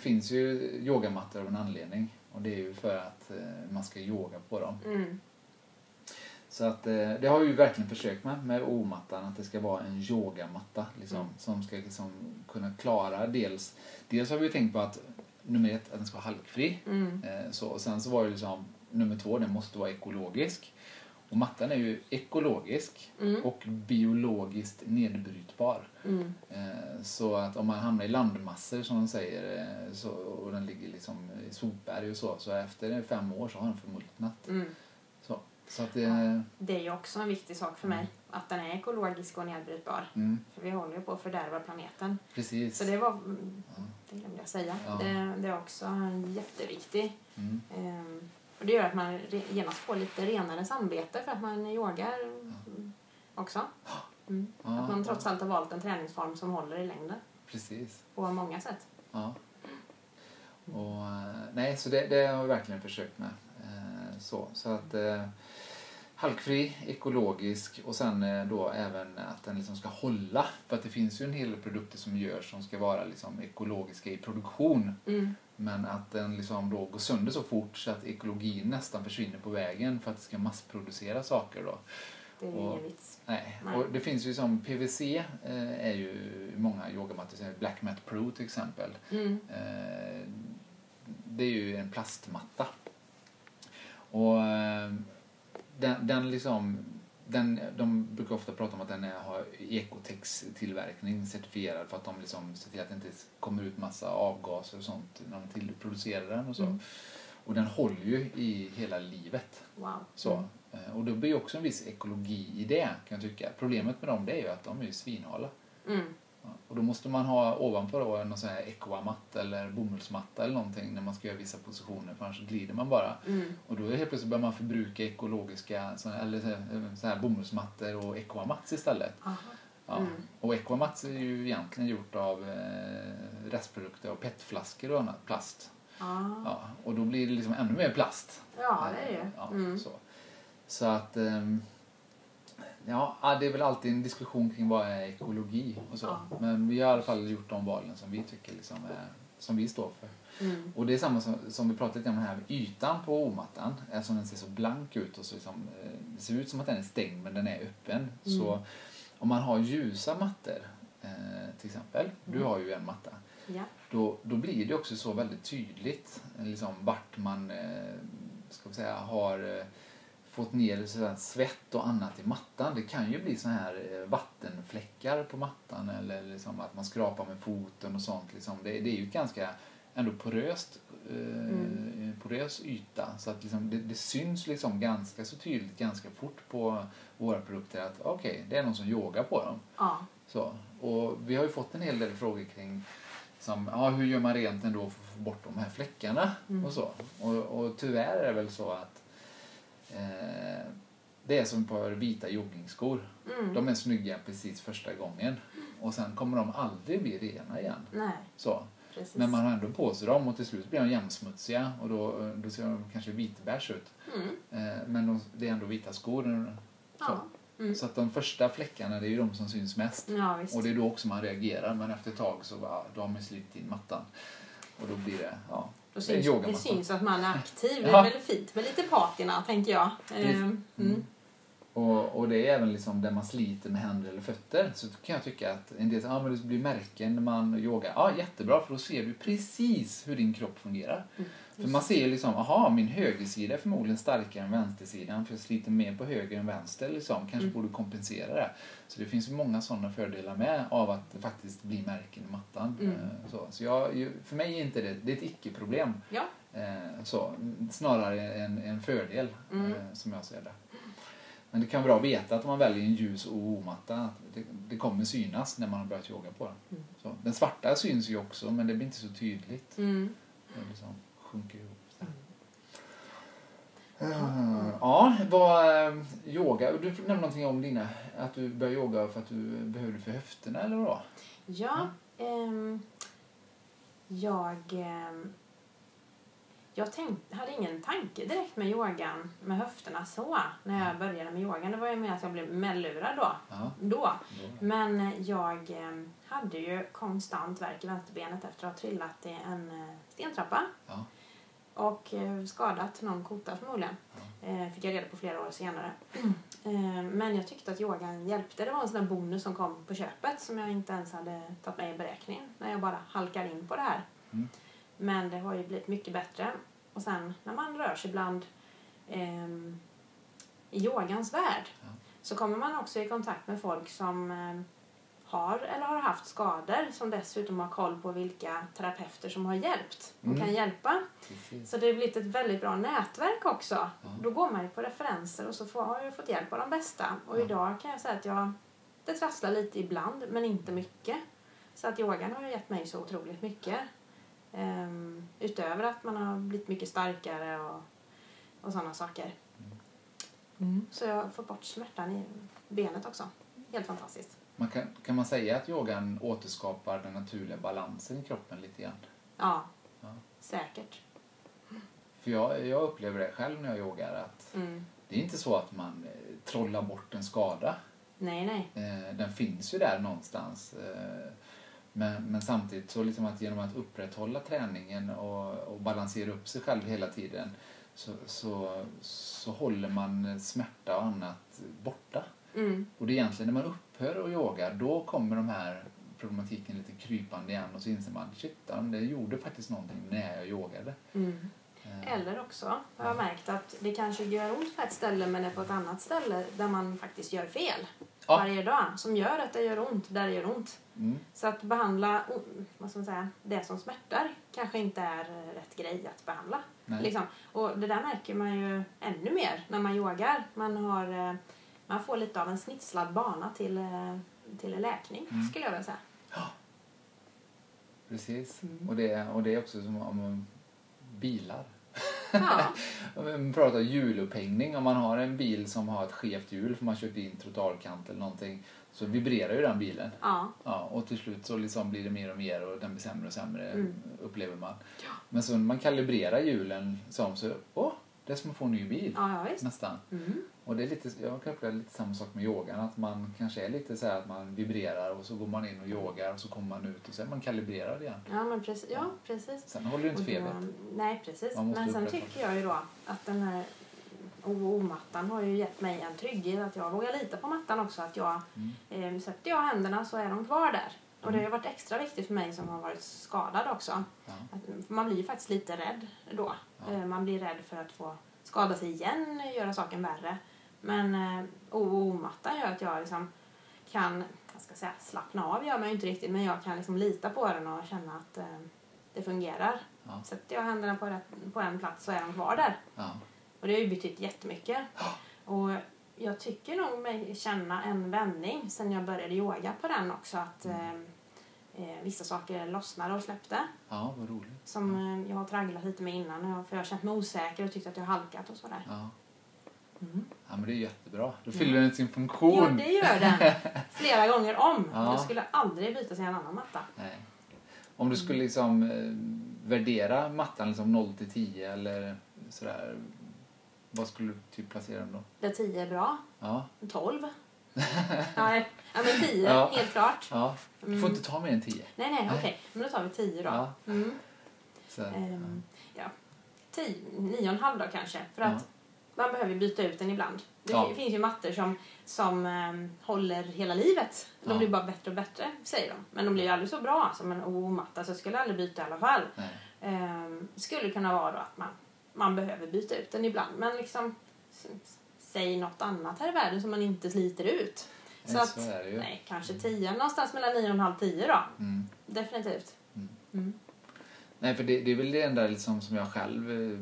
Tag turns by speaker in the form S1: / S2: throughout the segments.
S1: finns ju yogamattor av en anledning. Och det är ju för att eh, man ska yoga på dem.
S2: Mm.
S1: Så att eh, det har vi ju verkligen försökt med, med O-mattan, att det ska vara en yogamatta liksom, som ska liksom kunna klara dels, dels har vi ju tänkt på att nummer ett, att den ska vara halkfri.
S2: Mm.
S1: Eh, så, och sen så var det liksom nummer två, den måste vara ekologisk. Och mattan är ju ekologisk
S2: Mm.
S1: och biologiskt nedbrytbar.
S2: Mm.
S1: Eh, Så att om man hamnar i landmassor som de säger eh, så, och den ligger liksom i sopberg och så, så efter fem år så har den förmultnat.
S2: Mm.
S1: Så, så att det...
S2: Det är ju också en viktig sak för mig, att den är ekologisk och nedbrytbar.
S1: Mm,
S2: För vi håller ju på att fördärva planeten.
S1: precis.
S2: Så det var, mm, det glömde jag säga,
S1: Ja.
S2: det, det är också en jätteviktig.
S1: Mm,
S2: ehm, och det gör att man re, genast får lite renare samvete för att man yogar mm, också. Mm.
S1: Ja.
S2: Att man trots allt har valt en träningsform som håller i längden
S1: precis.
S2: på många sätt.
S1: Ja. Och, eh, nej, så det, det har vi verkligen försökt med. Eh, Så, så att eh, halkfri, ekologisk och sen eh, då även att den liksom ska hålla. För att det finns ju en hel del produkter som görs som ska vara liksom ekologiska i produktion.
S2: Mm.
S1: Men att den liksom då går sönder så fort så att ekologin nästan försvinner på vägen för att det ska massproducera saker då.
S2: Det är ju
S1: Och-
S2: ingen vits.
S1: Nej.
S2: Nej.
S1: Och det finns ju som PVC eh, är ju många yogamattor, så här Black Mat Pro till exempel.
S2: Mm.
S1: Eh, det är ju en plastmatta. Och eh, den, den liksom, den, de brukar ofta prata om att den är, har ekotex-tillverkning certifierad för att de liksom ser till att det inte kommer ut massa avgaser och sånt när de till, producerar den och så.
S2: Mm.
S1: Och den håller ju i hela livet.
S2: Wow.
S1: Så. Eh, Och då blir ju också en viss ekologi i det kan jag tycka. Problemet med dem det är ju att de är ju svinhala.
S2: Mm.
S1: Ja, Och då måste man ha ovanpå då någon sån här ekoamatt eller bomullsmatta eller någonting när man ska göra vissa positioner för annars glider man bara.
S2: Mm.
S1: Och då är det helt plötsligt börjar man förbruka ekologiska såna, eller så här- så här bomullsmattor och ekoamats istället.
S2: Aha.
S1: Ja.
S2: Mm.
S1: Och ekoamats är ju egentligen gjort av eh, restprodukter av petflaskor och annat, plast.
S2: Ah.
S1: Ja. Och då blir det liksom ännu mer plast.
S2: Ja, det är det
S1: Ja,
S2: ju. Mm.
S1: så. så att ehm, Ja, ja, det är väl alltid en diskussion kring vad är ekologi och så.
S2: Ja.
S1: Men vi har i alla fall gjort de valen som vi tycker liksom är, som vi står för.
S2: Mm.
S1: Och det är samma som, som vi pratade lite om här, ytan på omattan, eftersom den ser så blank ut och så liksom, eh, det ser ut som att den är stängd men den är öppen.
S2: Mm.
S1: Så om man har ljusa mattor eh, till exempel, du
S2: Mm.
S1: har ju en matta,
S2: Ja.
S1: då, då blir det också så väldigt tydligt eh, liksom, vart man eh, ska vi säga, har eh, fått ner sådär svett och annat i mattan. Det kan ju bli såna här eh, vattenfläckar på mattan eller liksom att man skrapar med foten och sånt. Liksom. Det, det är ju ett ganska ändå poröst, eh, porös yta så att liksom, det, det syns liksom ganska så tydligt ganska fort på våra produkter att okej, det är någon som yogar på dem.
S2: Ja.
S1: Så. Och vi har ju fått en hel del frågor kring som, ja, hur gör man rent ändå för att få bort de här fläckarna och så. Och, och tyvärr är det väl så att eh, det är som ett par vita joggingskor.
S2: Mm.
S1: De är snygga precis första gången och sen kommer de aldrig bli rena igen.
S2: Nej,
S1: Så.
S2: precis.
S1: Men man har ändå på sig dem och till slut blir de jämnsmutsiga och då, då ser de kanske vitbärs ut.
S2: Mm.
S1: Eh, men de, det är ändå vita skor. Så.
S2: Ja. Mm.
S1: så att de första fläckarna det är ju de som syns mest.
S2: Ja, visst.
S1: Och det är då också man reagerar, men efter ett tag så bara, då har man slitit in mattan. Och då blir det, ja,
S2: Då
S1: en
S2: syns, det
S1: yogamatta.
S2: syns att man är aktiv. Det
S1: Ja.
S2: är väl fint med lite patina, tänker jag. Ehm, Mm.
S1: Och, och det är även liksom där man sliter med händer eller fötter. Så kan jag tycka att en del, ja men det blir märken när man yogar. Ja, jättebra, för då ser du precis hur din kropp fungerar. För man ser ju liksom, aha, min högersida är förmodligen starkare än vänstersidan för jag sliter mer på höger än vänster liksom. Kanske borde kompensera det. Så det finns ju många sådana fördelar med av att det faktiskt blir märken i mattan. Eh, Så, så jag, ju- för mig är inte det, det är ett icke-problem.
S2: Ja.
S1: Eh, Så, snarare en, en fördel eh, som jag ser det. Men det kan vara bra att veta att om man väljer en ljus och omatta att det, det kommer synas när man har börjat yoga på den. Så, den svarta syns ju också men det blir inte så tydligt.
S2: Mm.
S1: Den liksom sjunker ihop. Så. Eh, Ja, vad eh, yoga. Du nämnde någonting om dina, att du började yoga för att du behövde för höfterna eller vad?
S2: Ja. ehm, jag... ehm, Jag tänkte, hade ingen tanke direkt med yogan, med höfterna så, när
S1: Mm.
S2: jag började med yogan. Det var ju mer att jag blev mellurad då.
S1: Ja,
S2: då.
S1: då.
S2: Men jag eh, hade ju konstant värk i vänsterbenet efter att ha trillat i en eh, stentrappa
S1: ja,
S2: och eh, skadat någon kota förmodligen. Eh, Fick jag reda på flera år senare. Eh, Men jag tyckte att yogan hjälpte. Det var en sån där bonus som kom på köpet som jag inte ens hade tagit med i beräkningen när jag bara halkar in på det här.
S1: Mm.
S2: Men det har ju blivit mycket bättre. Och sen när man rör sig bland ehm, i yogans värld
S1: Ja.
S2: så kommer man också i kontakt med folk som ehm, har eller har haft skador som dessutom har koll på vilka terapeuter som har hjälpt och
S1: Mm.
S2: kan hjälpa.
S1: precis.
S2: Så det har blivit ett väldigt bra nätverk också. Då går man ju på referenser och så får, har jag fått hjälp av de bästa. Och
S1: Ja.
S2: idag kan jag säga att jag, det trasslar lite ibland, men inte mycket. Så att yogan har ju gett mig så otroligt mycket. Ehm, utöver att man har blivit mycket starkare och, och sådana saker. Mm. Så jag har fått bort smärtan i benet också. Helt fantastiskt.
S1: Man kan, kan man säga att yogan återskapar den naturliga balansen i kroppen lite grann?
S2: Ja,
S1: Ja.
S2: säkert.
S1: För jag, jag upplever det själv när jag yogar att
S2: Mm.
S1: det är inte så att man eh, trollar bort en skada.
S2: Nej, nej.
S1: Eh, den finns ju där någonstans. Eh, men, men samtidigt så liksom att genom att upprätthålla träningen och, och balansera upp sig själv hela tiden så, så, så håller man smärta och annat borta.
S2: Mm.
S1: Och det är egentligen när man upphör att yoga då kommer de här problematiken lite krypande igen och så inser man shit, ja, det gjorde faktiskt någonting när jag yogade.
S2: Mm.
S1: Eh,
S2: Eller också har jag märkt att det kanske gör ont på ett ställe men är på ett annat ställe där man faktiskt gör fel
S1: Ja.
S2: varje dag som gör att det gör ont där det gör ont.
S1: Mm,
S2: Så att behandla o- vad ska man säga, det som smärtar kanske inte är eh, rätt grej att behandla.
S1: nej.
S2: Liksom. Och det där märker man ju ännu mer när man yogar. Man, har, eh, man får lite av en snitslad bana till, eh, till läkning
S1: Mm.
S2: skulle jag vilja säga.
S1: Precis.
S2: Mm.
S1: Och, det, och det är också som om bilar.
S2: Ja,
S1: Om Man pratar hjulupphängning. Om man har en bil som har ett skevt hjul för man kört in trottoarkant eller någonting så vibrerar ju den bilen.
S2: ja,
S1: Ja, och till slut så liksom blir det mer och mer och den blir sämre och sämre
S2: Mm.
S1: upplever man. Men så när man kalibrerar hjulen som så, åh, det är som att få en ny bil.
S2: ja, ja visst.
S1: Nästan.
S2: Mm.
S1: Och det är lite, jag kan uppleva lite samma sak med yogan. Att man kanske är lite så här att man vibrerar och så går man in och yogar och så kommer man ut och så är man kalibrerad igen.
S2: Ja, men precis. Ja, precis.
S1: Sen håller du inte
S2: Och då-
S1: febern.
S2: Nej, precis.
S1: Man måste
S2: Men sen
S1: upprätthålla.
S2: tycker jag ju då att den här OO-mattan har ju gett mig en trygghet att jag vågar lita på mattan också. Att jag,
S1: Mm.
S2: eh, sätter jag händerna så är de kvar där. Och det har ju varit extra viktigt för mig som har varit skadad också.
S1: Ja.
S2: Att man blir ju faktiskt lite rädd då.
S1: Ja.
S2: Eh, Man blir rädd för att få skada sig igen, göra saken värre. Men eh, OO-mattan gör att jag liksom kan, jag ska säga slappna av gör man ju inte riktigt, men jag kan liksom lita på den och känna att eh, det fungerar.
S1: Ja.
S2: Sätter jag händerna på, rätt, på en plats så är de kvar där.
S1: Ja.
S2: Och det har ju betytt jättemycket. Och jag tycker nog mig känna en vändning sen jag började yoga på den också. Att eh,
S1: Mm.
S2: eh, vissa saker lossnade och släppte.
S1: ja, vad roligt.
S2: Som eh, jag har tragglat lite med innan. och jag- För jag har känt mig osäker och tyckt att jag har halkat och sådär.
S1: Ja.
S2: Mm.
S1: ja, men det är jättebra. Då fyller den sin
S2: Jo,
S1: funktion.
S2: det gör den. Flera gånger om.
S1: Ja.
S2: Jag skulle aldrig byta sig en annan matta.
S1: Nej. Om du
S2: Mm.
S1: skulle liksom eh, värdera mattan liksom 0 till 10 eller sådär. Vad skulle du typ placera den då?
S2: Där 10 är bra.
S1: Ja,
S2: 12. Nej, ja, men 10.
S1: Ja.
S2: Helt klart.
S1: ja. Du får
S2: Mm.
S1: inte ta mer än 10.
S2: Nej, nej, okej. Men då tar vi 10 då.
S1: Ja.
S2: Mm.
S1: Så, att,
S2: Ehm, ja, tio, nio och en halv då kanske. För att man behöver ju byta ut den ibland. Det
S1: Ja.
S2: fi- finns ju mattor som, som ehm, håller hela livet. De
S1: Ja.
S2: blir bara bättre och bättre, säger de. Men de blir ju aldrig så bra som en OO-matta, så jag skulle aldrig byta i alla fall.
S1: nej.
S2: Ehm, skulle kunna vara då att man, man behöver byta ut den ibland. Men liksom, s- s- säg något annat här i världen som man inte sliter ut. Så
S1: Nej,
S2: att,
S1: så är det ju.
S2: nej, kanske tio, någonstans mellan nio och en halv tio då.
S1: Mm.
S2: Definitivt.
S1: Mm.
S2: Mm.
S1: Nej, för det, det är väl det enda liksom som jag själv... eh,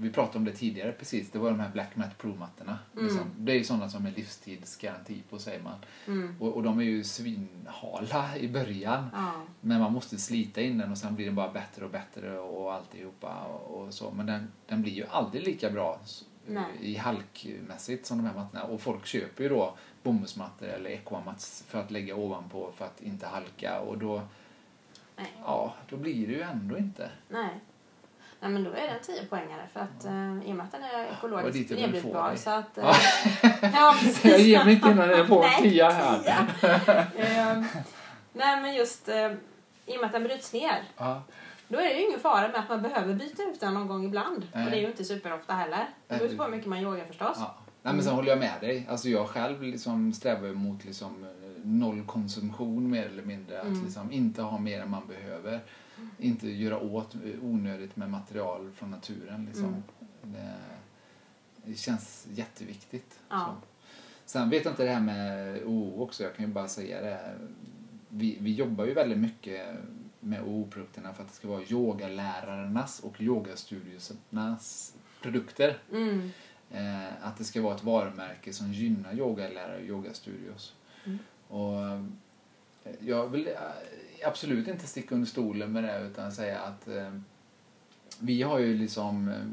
S1: Vi pratade om det tidigare precis. Det var de här Black Mat Pro-mattorna.
S2: Mm.
S1: Liksom. Det är ju sådana som är livstidsgaranti på, säger man.
S2: Mm.
S1: Och, och de är ju svinhala i början.
S2: Ja.
S1: Men man måste slita in den och sen blir den bara bättre och bättre och alltihopa och, och så. Men den, den blir ju aldrig lika bra s-
S2: Nej.
S1: i halkmässigt som de här mattorna. Och folk köper ju då bomullsmattor eller ekoamats för att lägga ovanpå för att inte halka och då,
S2: Nej.
S1: ja, då blir det ju ändå inte.
S2: Nej. Nej men då är det en 10 poängare för att eh, i och med att den
S1: Och
S2: är
S1: dit
S2: ekologiskt
S1: jag vill få
S2: nedbrytbar
S1: dig.
S2: så att... eh,
S1: typ Ja.
S2: ja precis.
S1: Jag ger mig inte innan jag får en
S2: Nej,
S1: tia här.
S2: tia. Ehm, Nej men just eh, i och med att den bryts ner
S1: Ja,
S2: då är det ju ingen fara med att man behöver byta ut den någon gång ibland.
S1: Nej.
S2: Och det är ju inte superofta heller. Det beror ju på hur mycket man yogar förstås.
S1: ja. Nej, men sen håller jag med dig. Alltså jag själv liksom strävar ju mot liksom eh, nollkonsumtion mer eller mindre. Att
S2: Mm.
S1: liksom inte ha mer än man behöver. Inte göra åt eh, onödigt med material från naturen. Liksom.
S2: Mm.
S1: Det, det känns jätteviktigt.
S2: Ja.
S1: Så. Sen vet jag inte det här med OO också. Jag kan ju bara säga det. Vi, vi jobbar ju väldigt mycket med OO-produkterna för att det ska vara yogalärarnas och yogastudiosernas produkter.
S2: Mm.
S1: Eh, att det ska vara ett varumärke som gynnar yogalärare och yogastudios.
S2: Mm.
S1: Och, eh, jag vill eh, absolut inte sticka under stolen med det utan säga att eh, vi har ju liksom eh,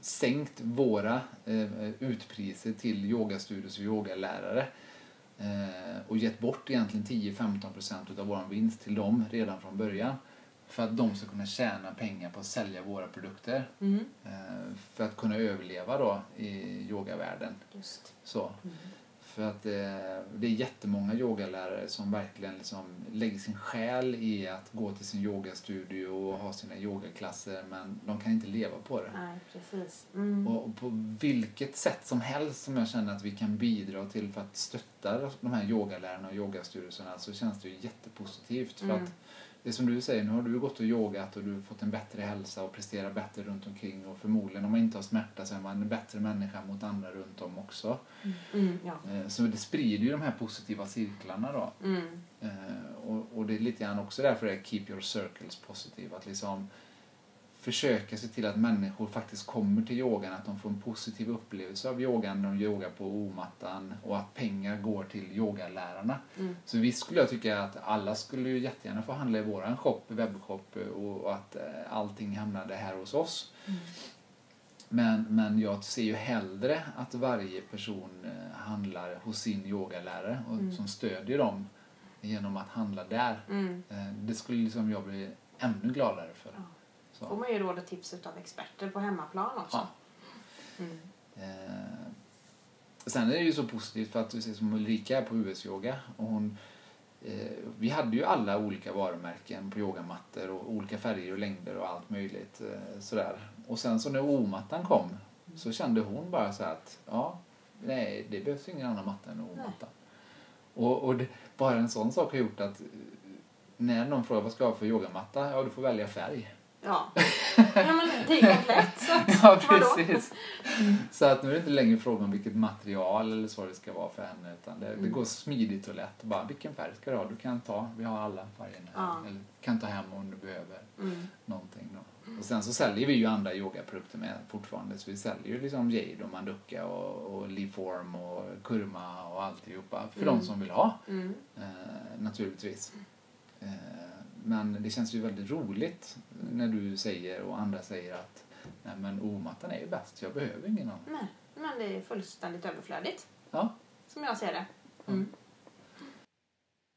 S1: sänkt våra eh, utpriser till yogastudios och yogalärare eh, och gett bort egentligen 10-15% av vår vinst till dem redan från början för att de ska kunna tjäna pengar på att sälja våra produkter.
S2: Mm.
S1: Eh, för att kunna överleva då i yogavärlden.
S2: Just.
S1: Så.
S2: Mm.
S1: För att eh, det är jättemånga yogalärare som verkligen liksom lägger sin själ i att gå till sin yogastudio och ha sina yogaklasser men de kan inte leva på det.
S2: Nej, precis. Mm.
S1: Och och på vilket sätt som helst som jag känner att vi kan bidra till för att stötta de här yogalärarna och yogastudioserna så känns det ju jättepositivt. För
S2: Mm.
S1: att det är som du säger, nu har du gått och yogat och du fått en bättre hälsa och presterar bättre runt omkring och förmodligen om man inte har smärta så är man en bättre människa mot andra runt om också.
S2: Mm, ja.
S1: Eh, Så det sprider ju de här positiva cirklarna då.
S2: Mm.
S1: Eh, och, och det är lite grann också därför det är keep your circles positive. Att liksom försöka se till att människor faktiskt kommer till yogan, att de får en positiv upplevelse av yogan när de yogar på omattan och att pengar går till yogalärarna.
S2: Mm.
S1: Så visst skulle jag tycka att alla skulle ju jättegärna få handla i våran shop, webbshop och, och att eh, allting hamnade här hos oss.
S2: Mm.
S1: Men, men jag ser ju hellre att varje person eh, handlar hos sin yogalärare och
S2: Mm.
S1: som stödjer dem genom att handla där.
S2: Mm.
S1: Eh, Det skulle liksom jag bli ännu gladare för.
S2: Ja. får
S1: Så.
S2: man ju råd och tips utav experter på hemmaplan också.
S1: Ja.
S2: Mm.
S1: Eh, Sen är det ju så positivt för att du ser som Ulrika är på US-yoga och hon eh, vi hade ju alla olika varumärken på yogamattor och olika färger och längder och allt möjligt eh, sådär. Och sen så när omattan kom så kände hon bara så här att ja, nej det behövs ingen annan matta än omattan. Och, och det, bara en sån sak har gjort att eh, när någon frågar vad ska jag ha för yogamatta? Ja, du får välja färg.
S2: Ja. ja, men det är komplett. Så att,
S1: Ja,
S2: vadå?
S1: precis. Så att nu är det inte längre fråga om vilket material eller så det ska vara för henne utan det, det
S2: Mm.
S1: går smidigt och lätt. Bara, vilken färg ska du ha? Du kan ta, vi har alla färgerna.
S2: Ja.
S1: Eller kan ta hem om du behöver
S2: Mm.
S1: någonting. Då. Och sen så säljer vi ju andra yogaprodukter med fortfarande. Så vi säljer ju liksom jade och manduka och, och leaform och kurma och alltihopa för de
S2: Mm.
S1: som vill ha.
S2: Mm.
S1: Eh, naturligtvis. Eh, men det känns ju väldigt roligt när du säger och andra säger att Nej men omattan är ju bäst, jag behöver ingen annan.
S2: Nej, men det är fullständigt överflödigt.
S1: Ja.
S2: Som jag ser det. Mm.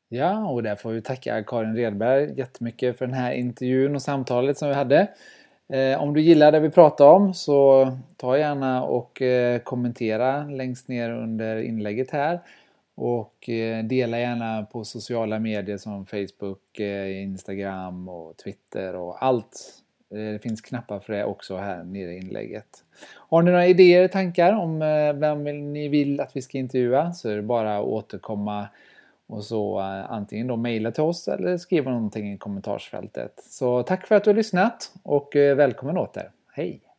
S1: Ja, och där får vi tacka Karin Redberg jättemycket för den här intervjun och samtalet som vi hade. Eh, Om du gillar det vi pratade om så ta gärna och eh, kommentera längst ner under inlägget här. Och eh, dela gärna på sociala medier som Facebook, eh, Instagram och Twitter och allt. Eh, Det finns knappar för det också här nere i inlägget. Har ni några idéer, tankar om eh, vem ni vill att vi ska intervjua så är det bara att återkomma och så eh, antingen då mejla till oss eller skriva någonting i kommentarsfältet. Så tack för att du har lyssnat och eh, välkommen åter. Hej!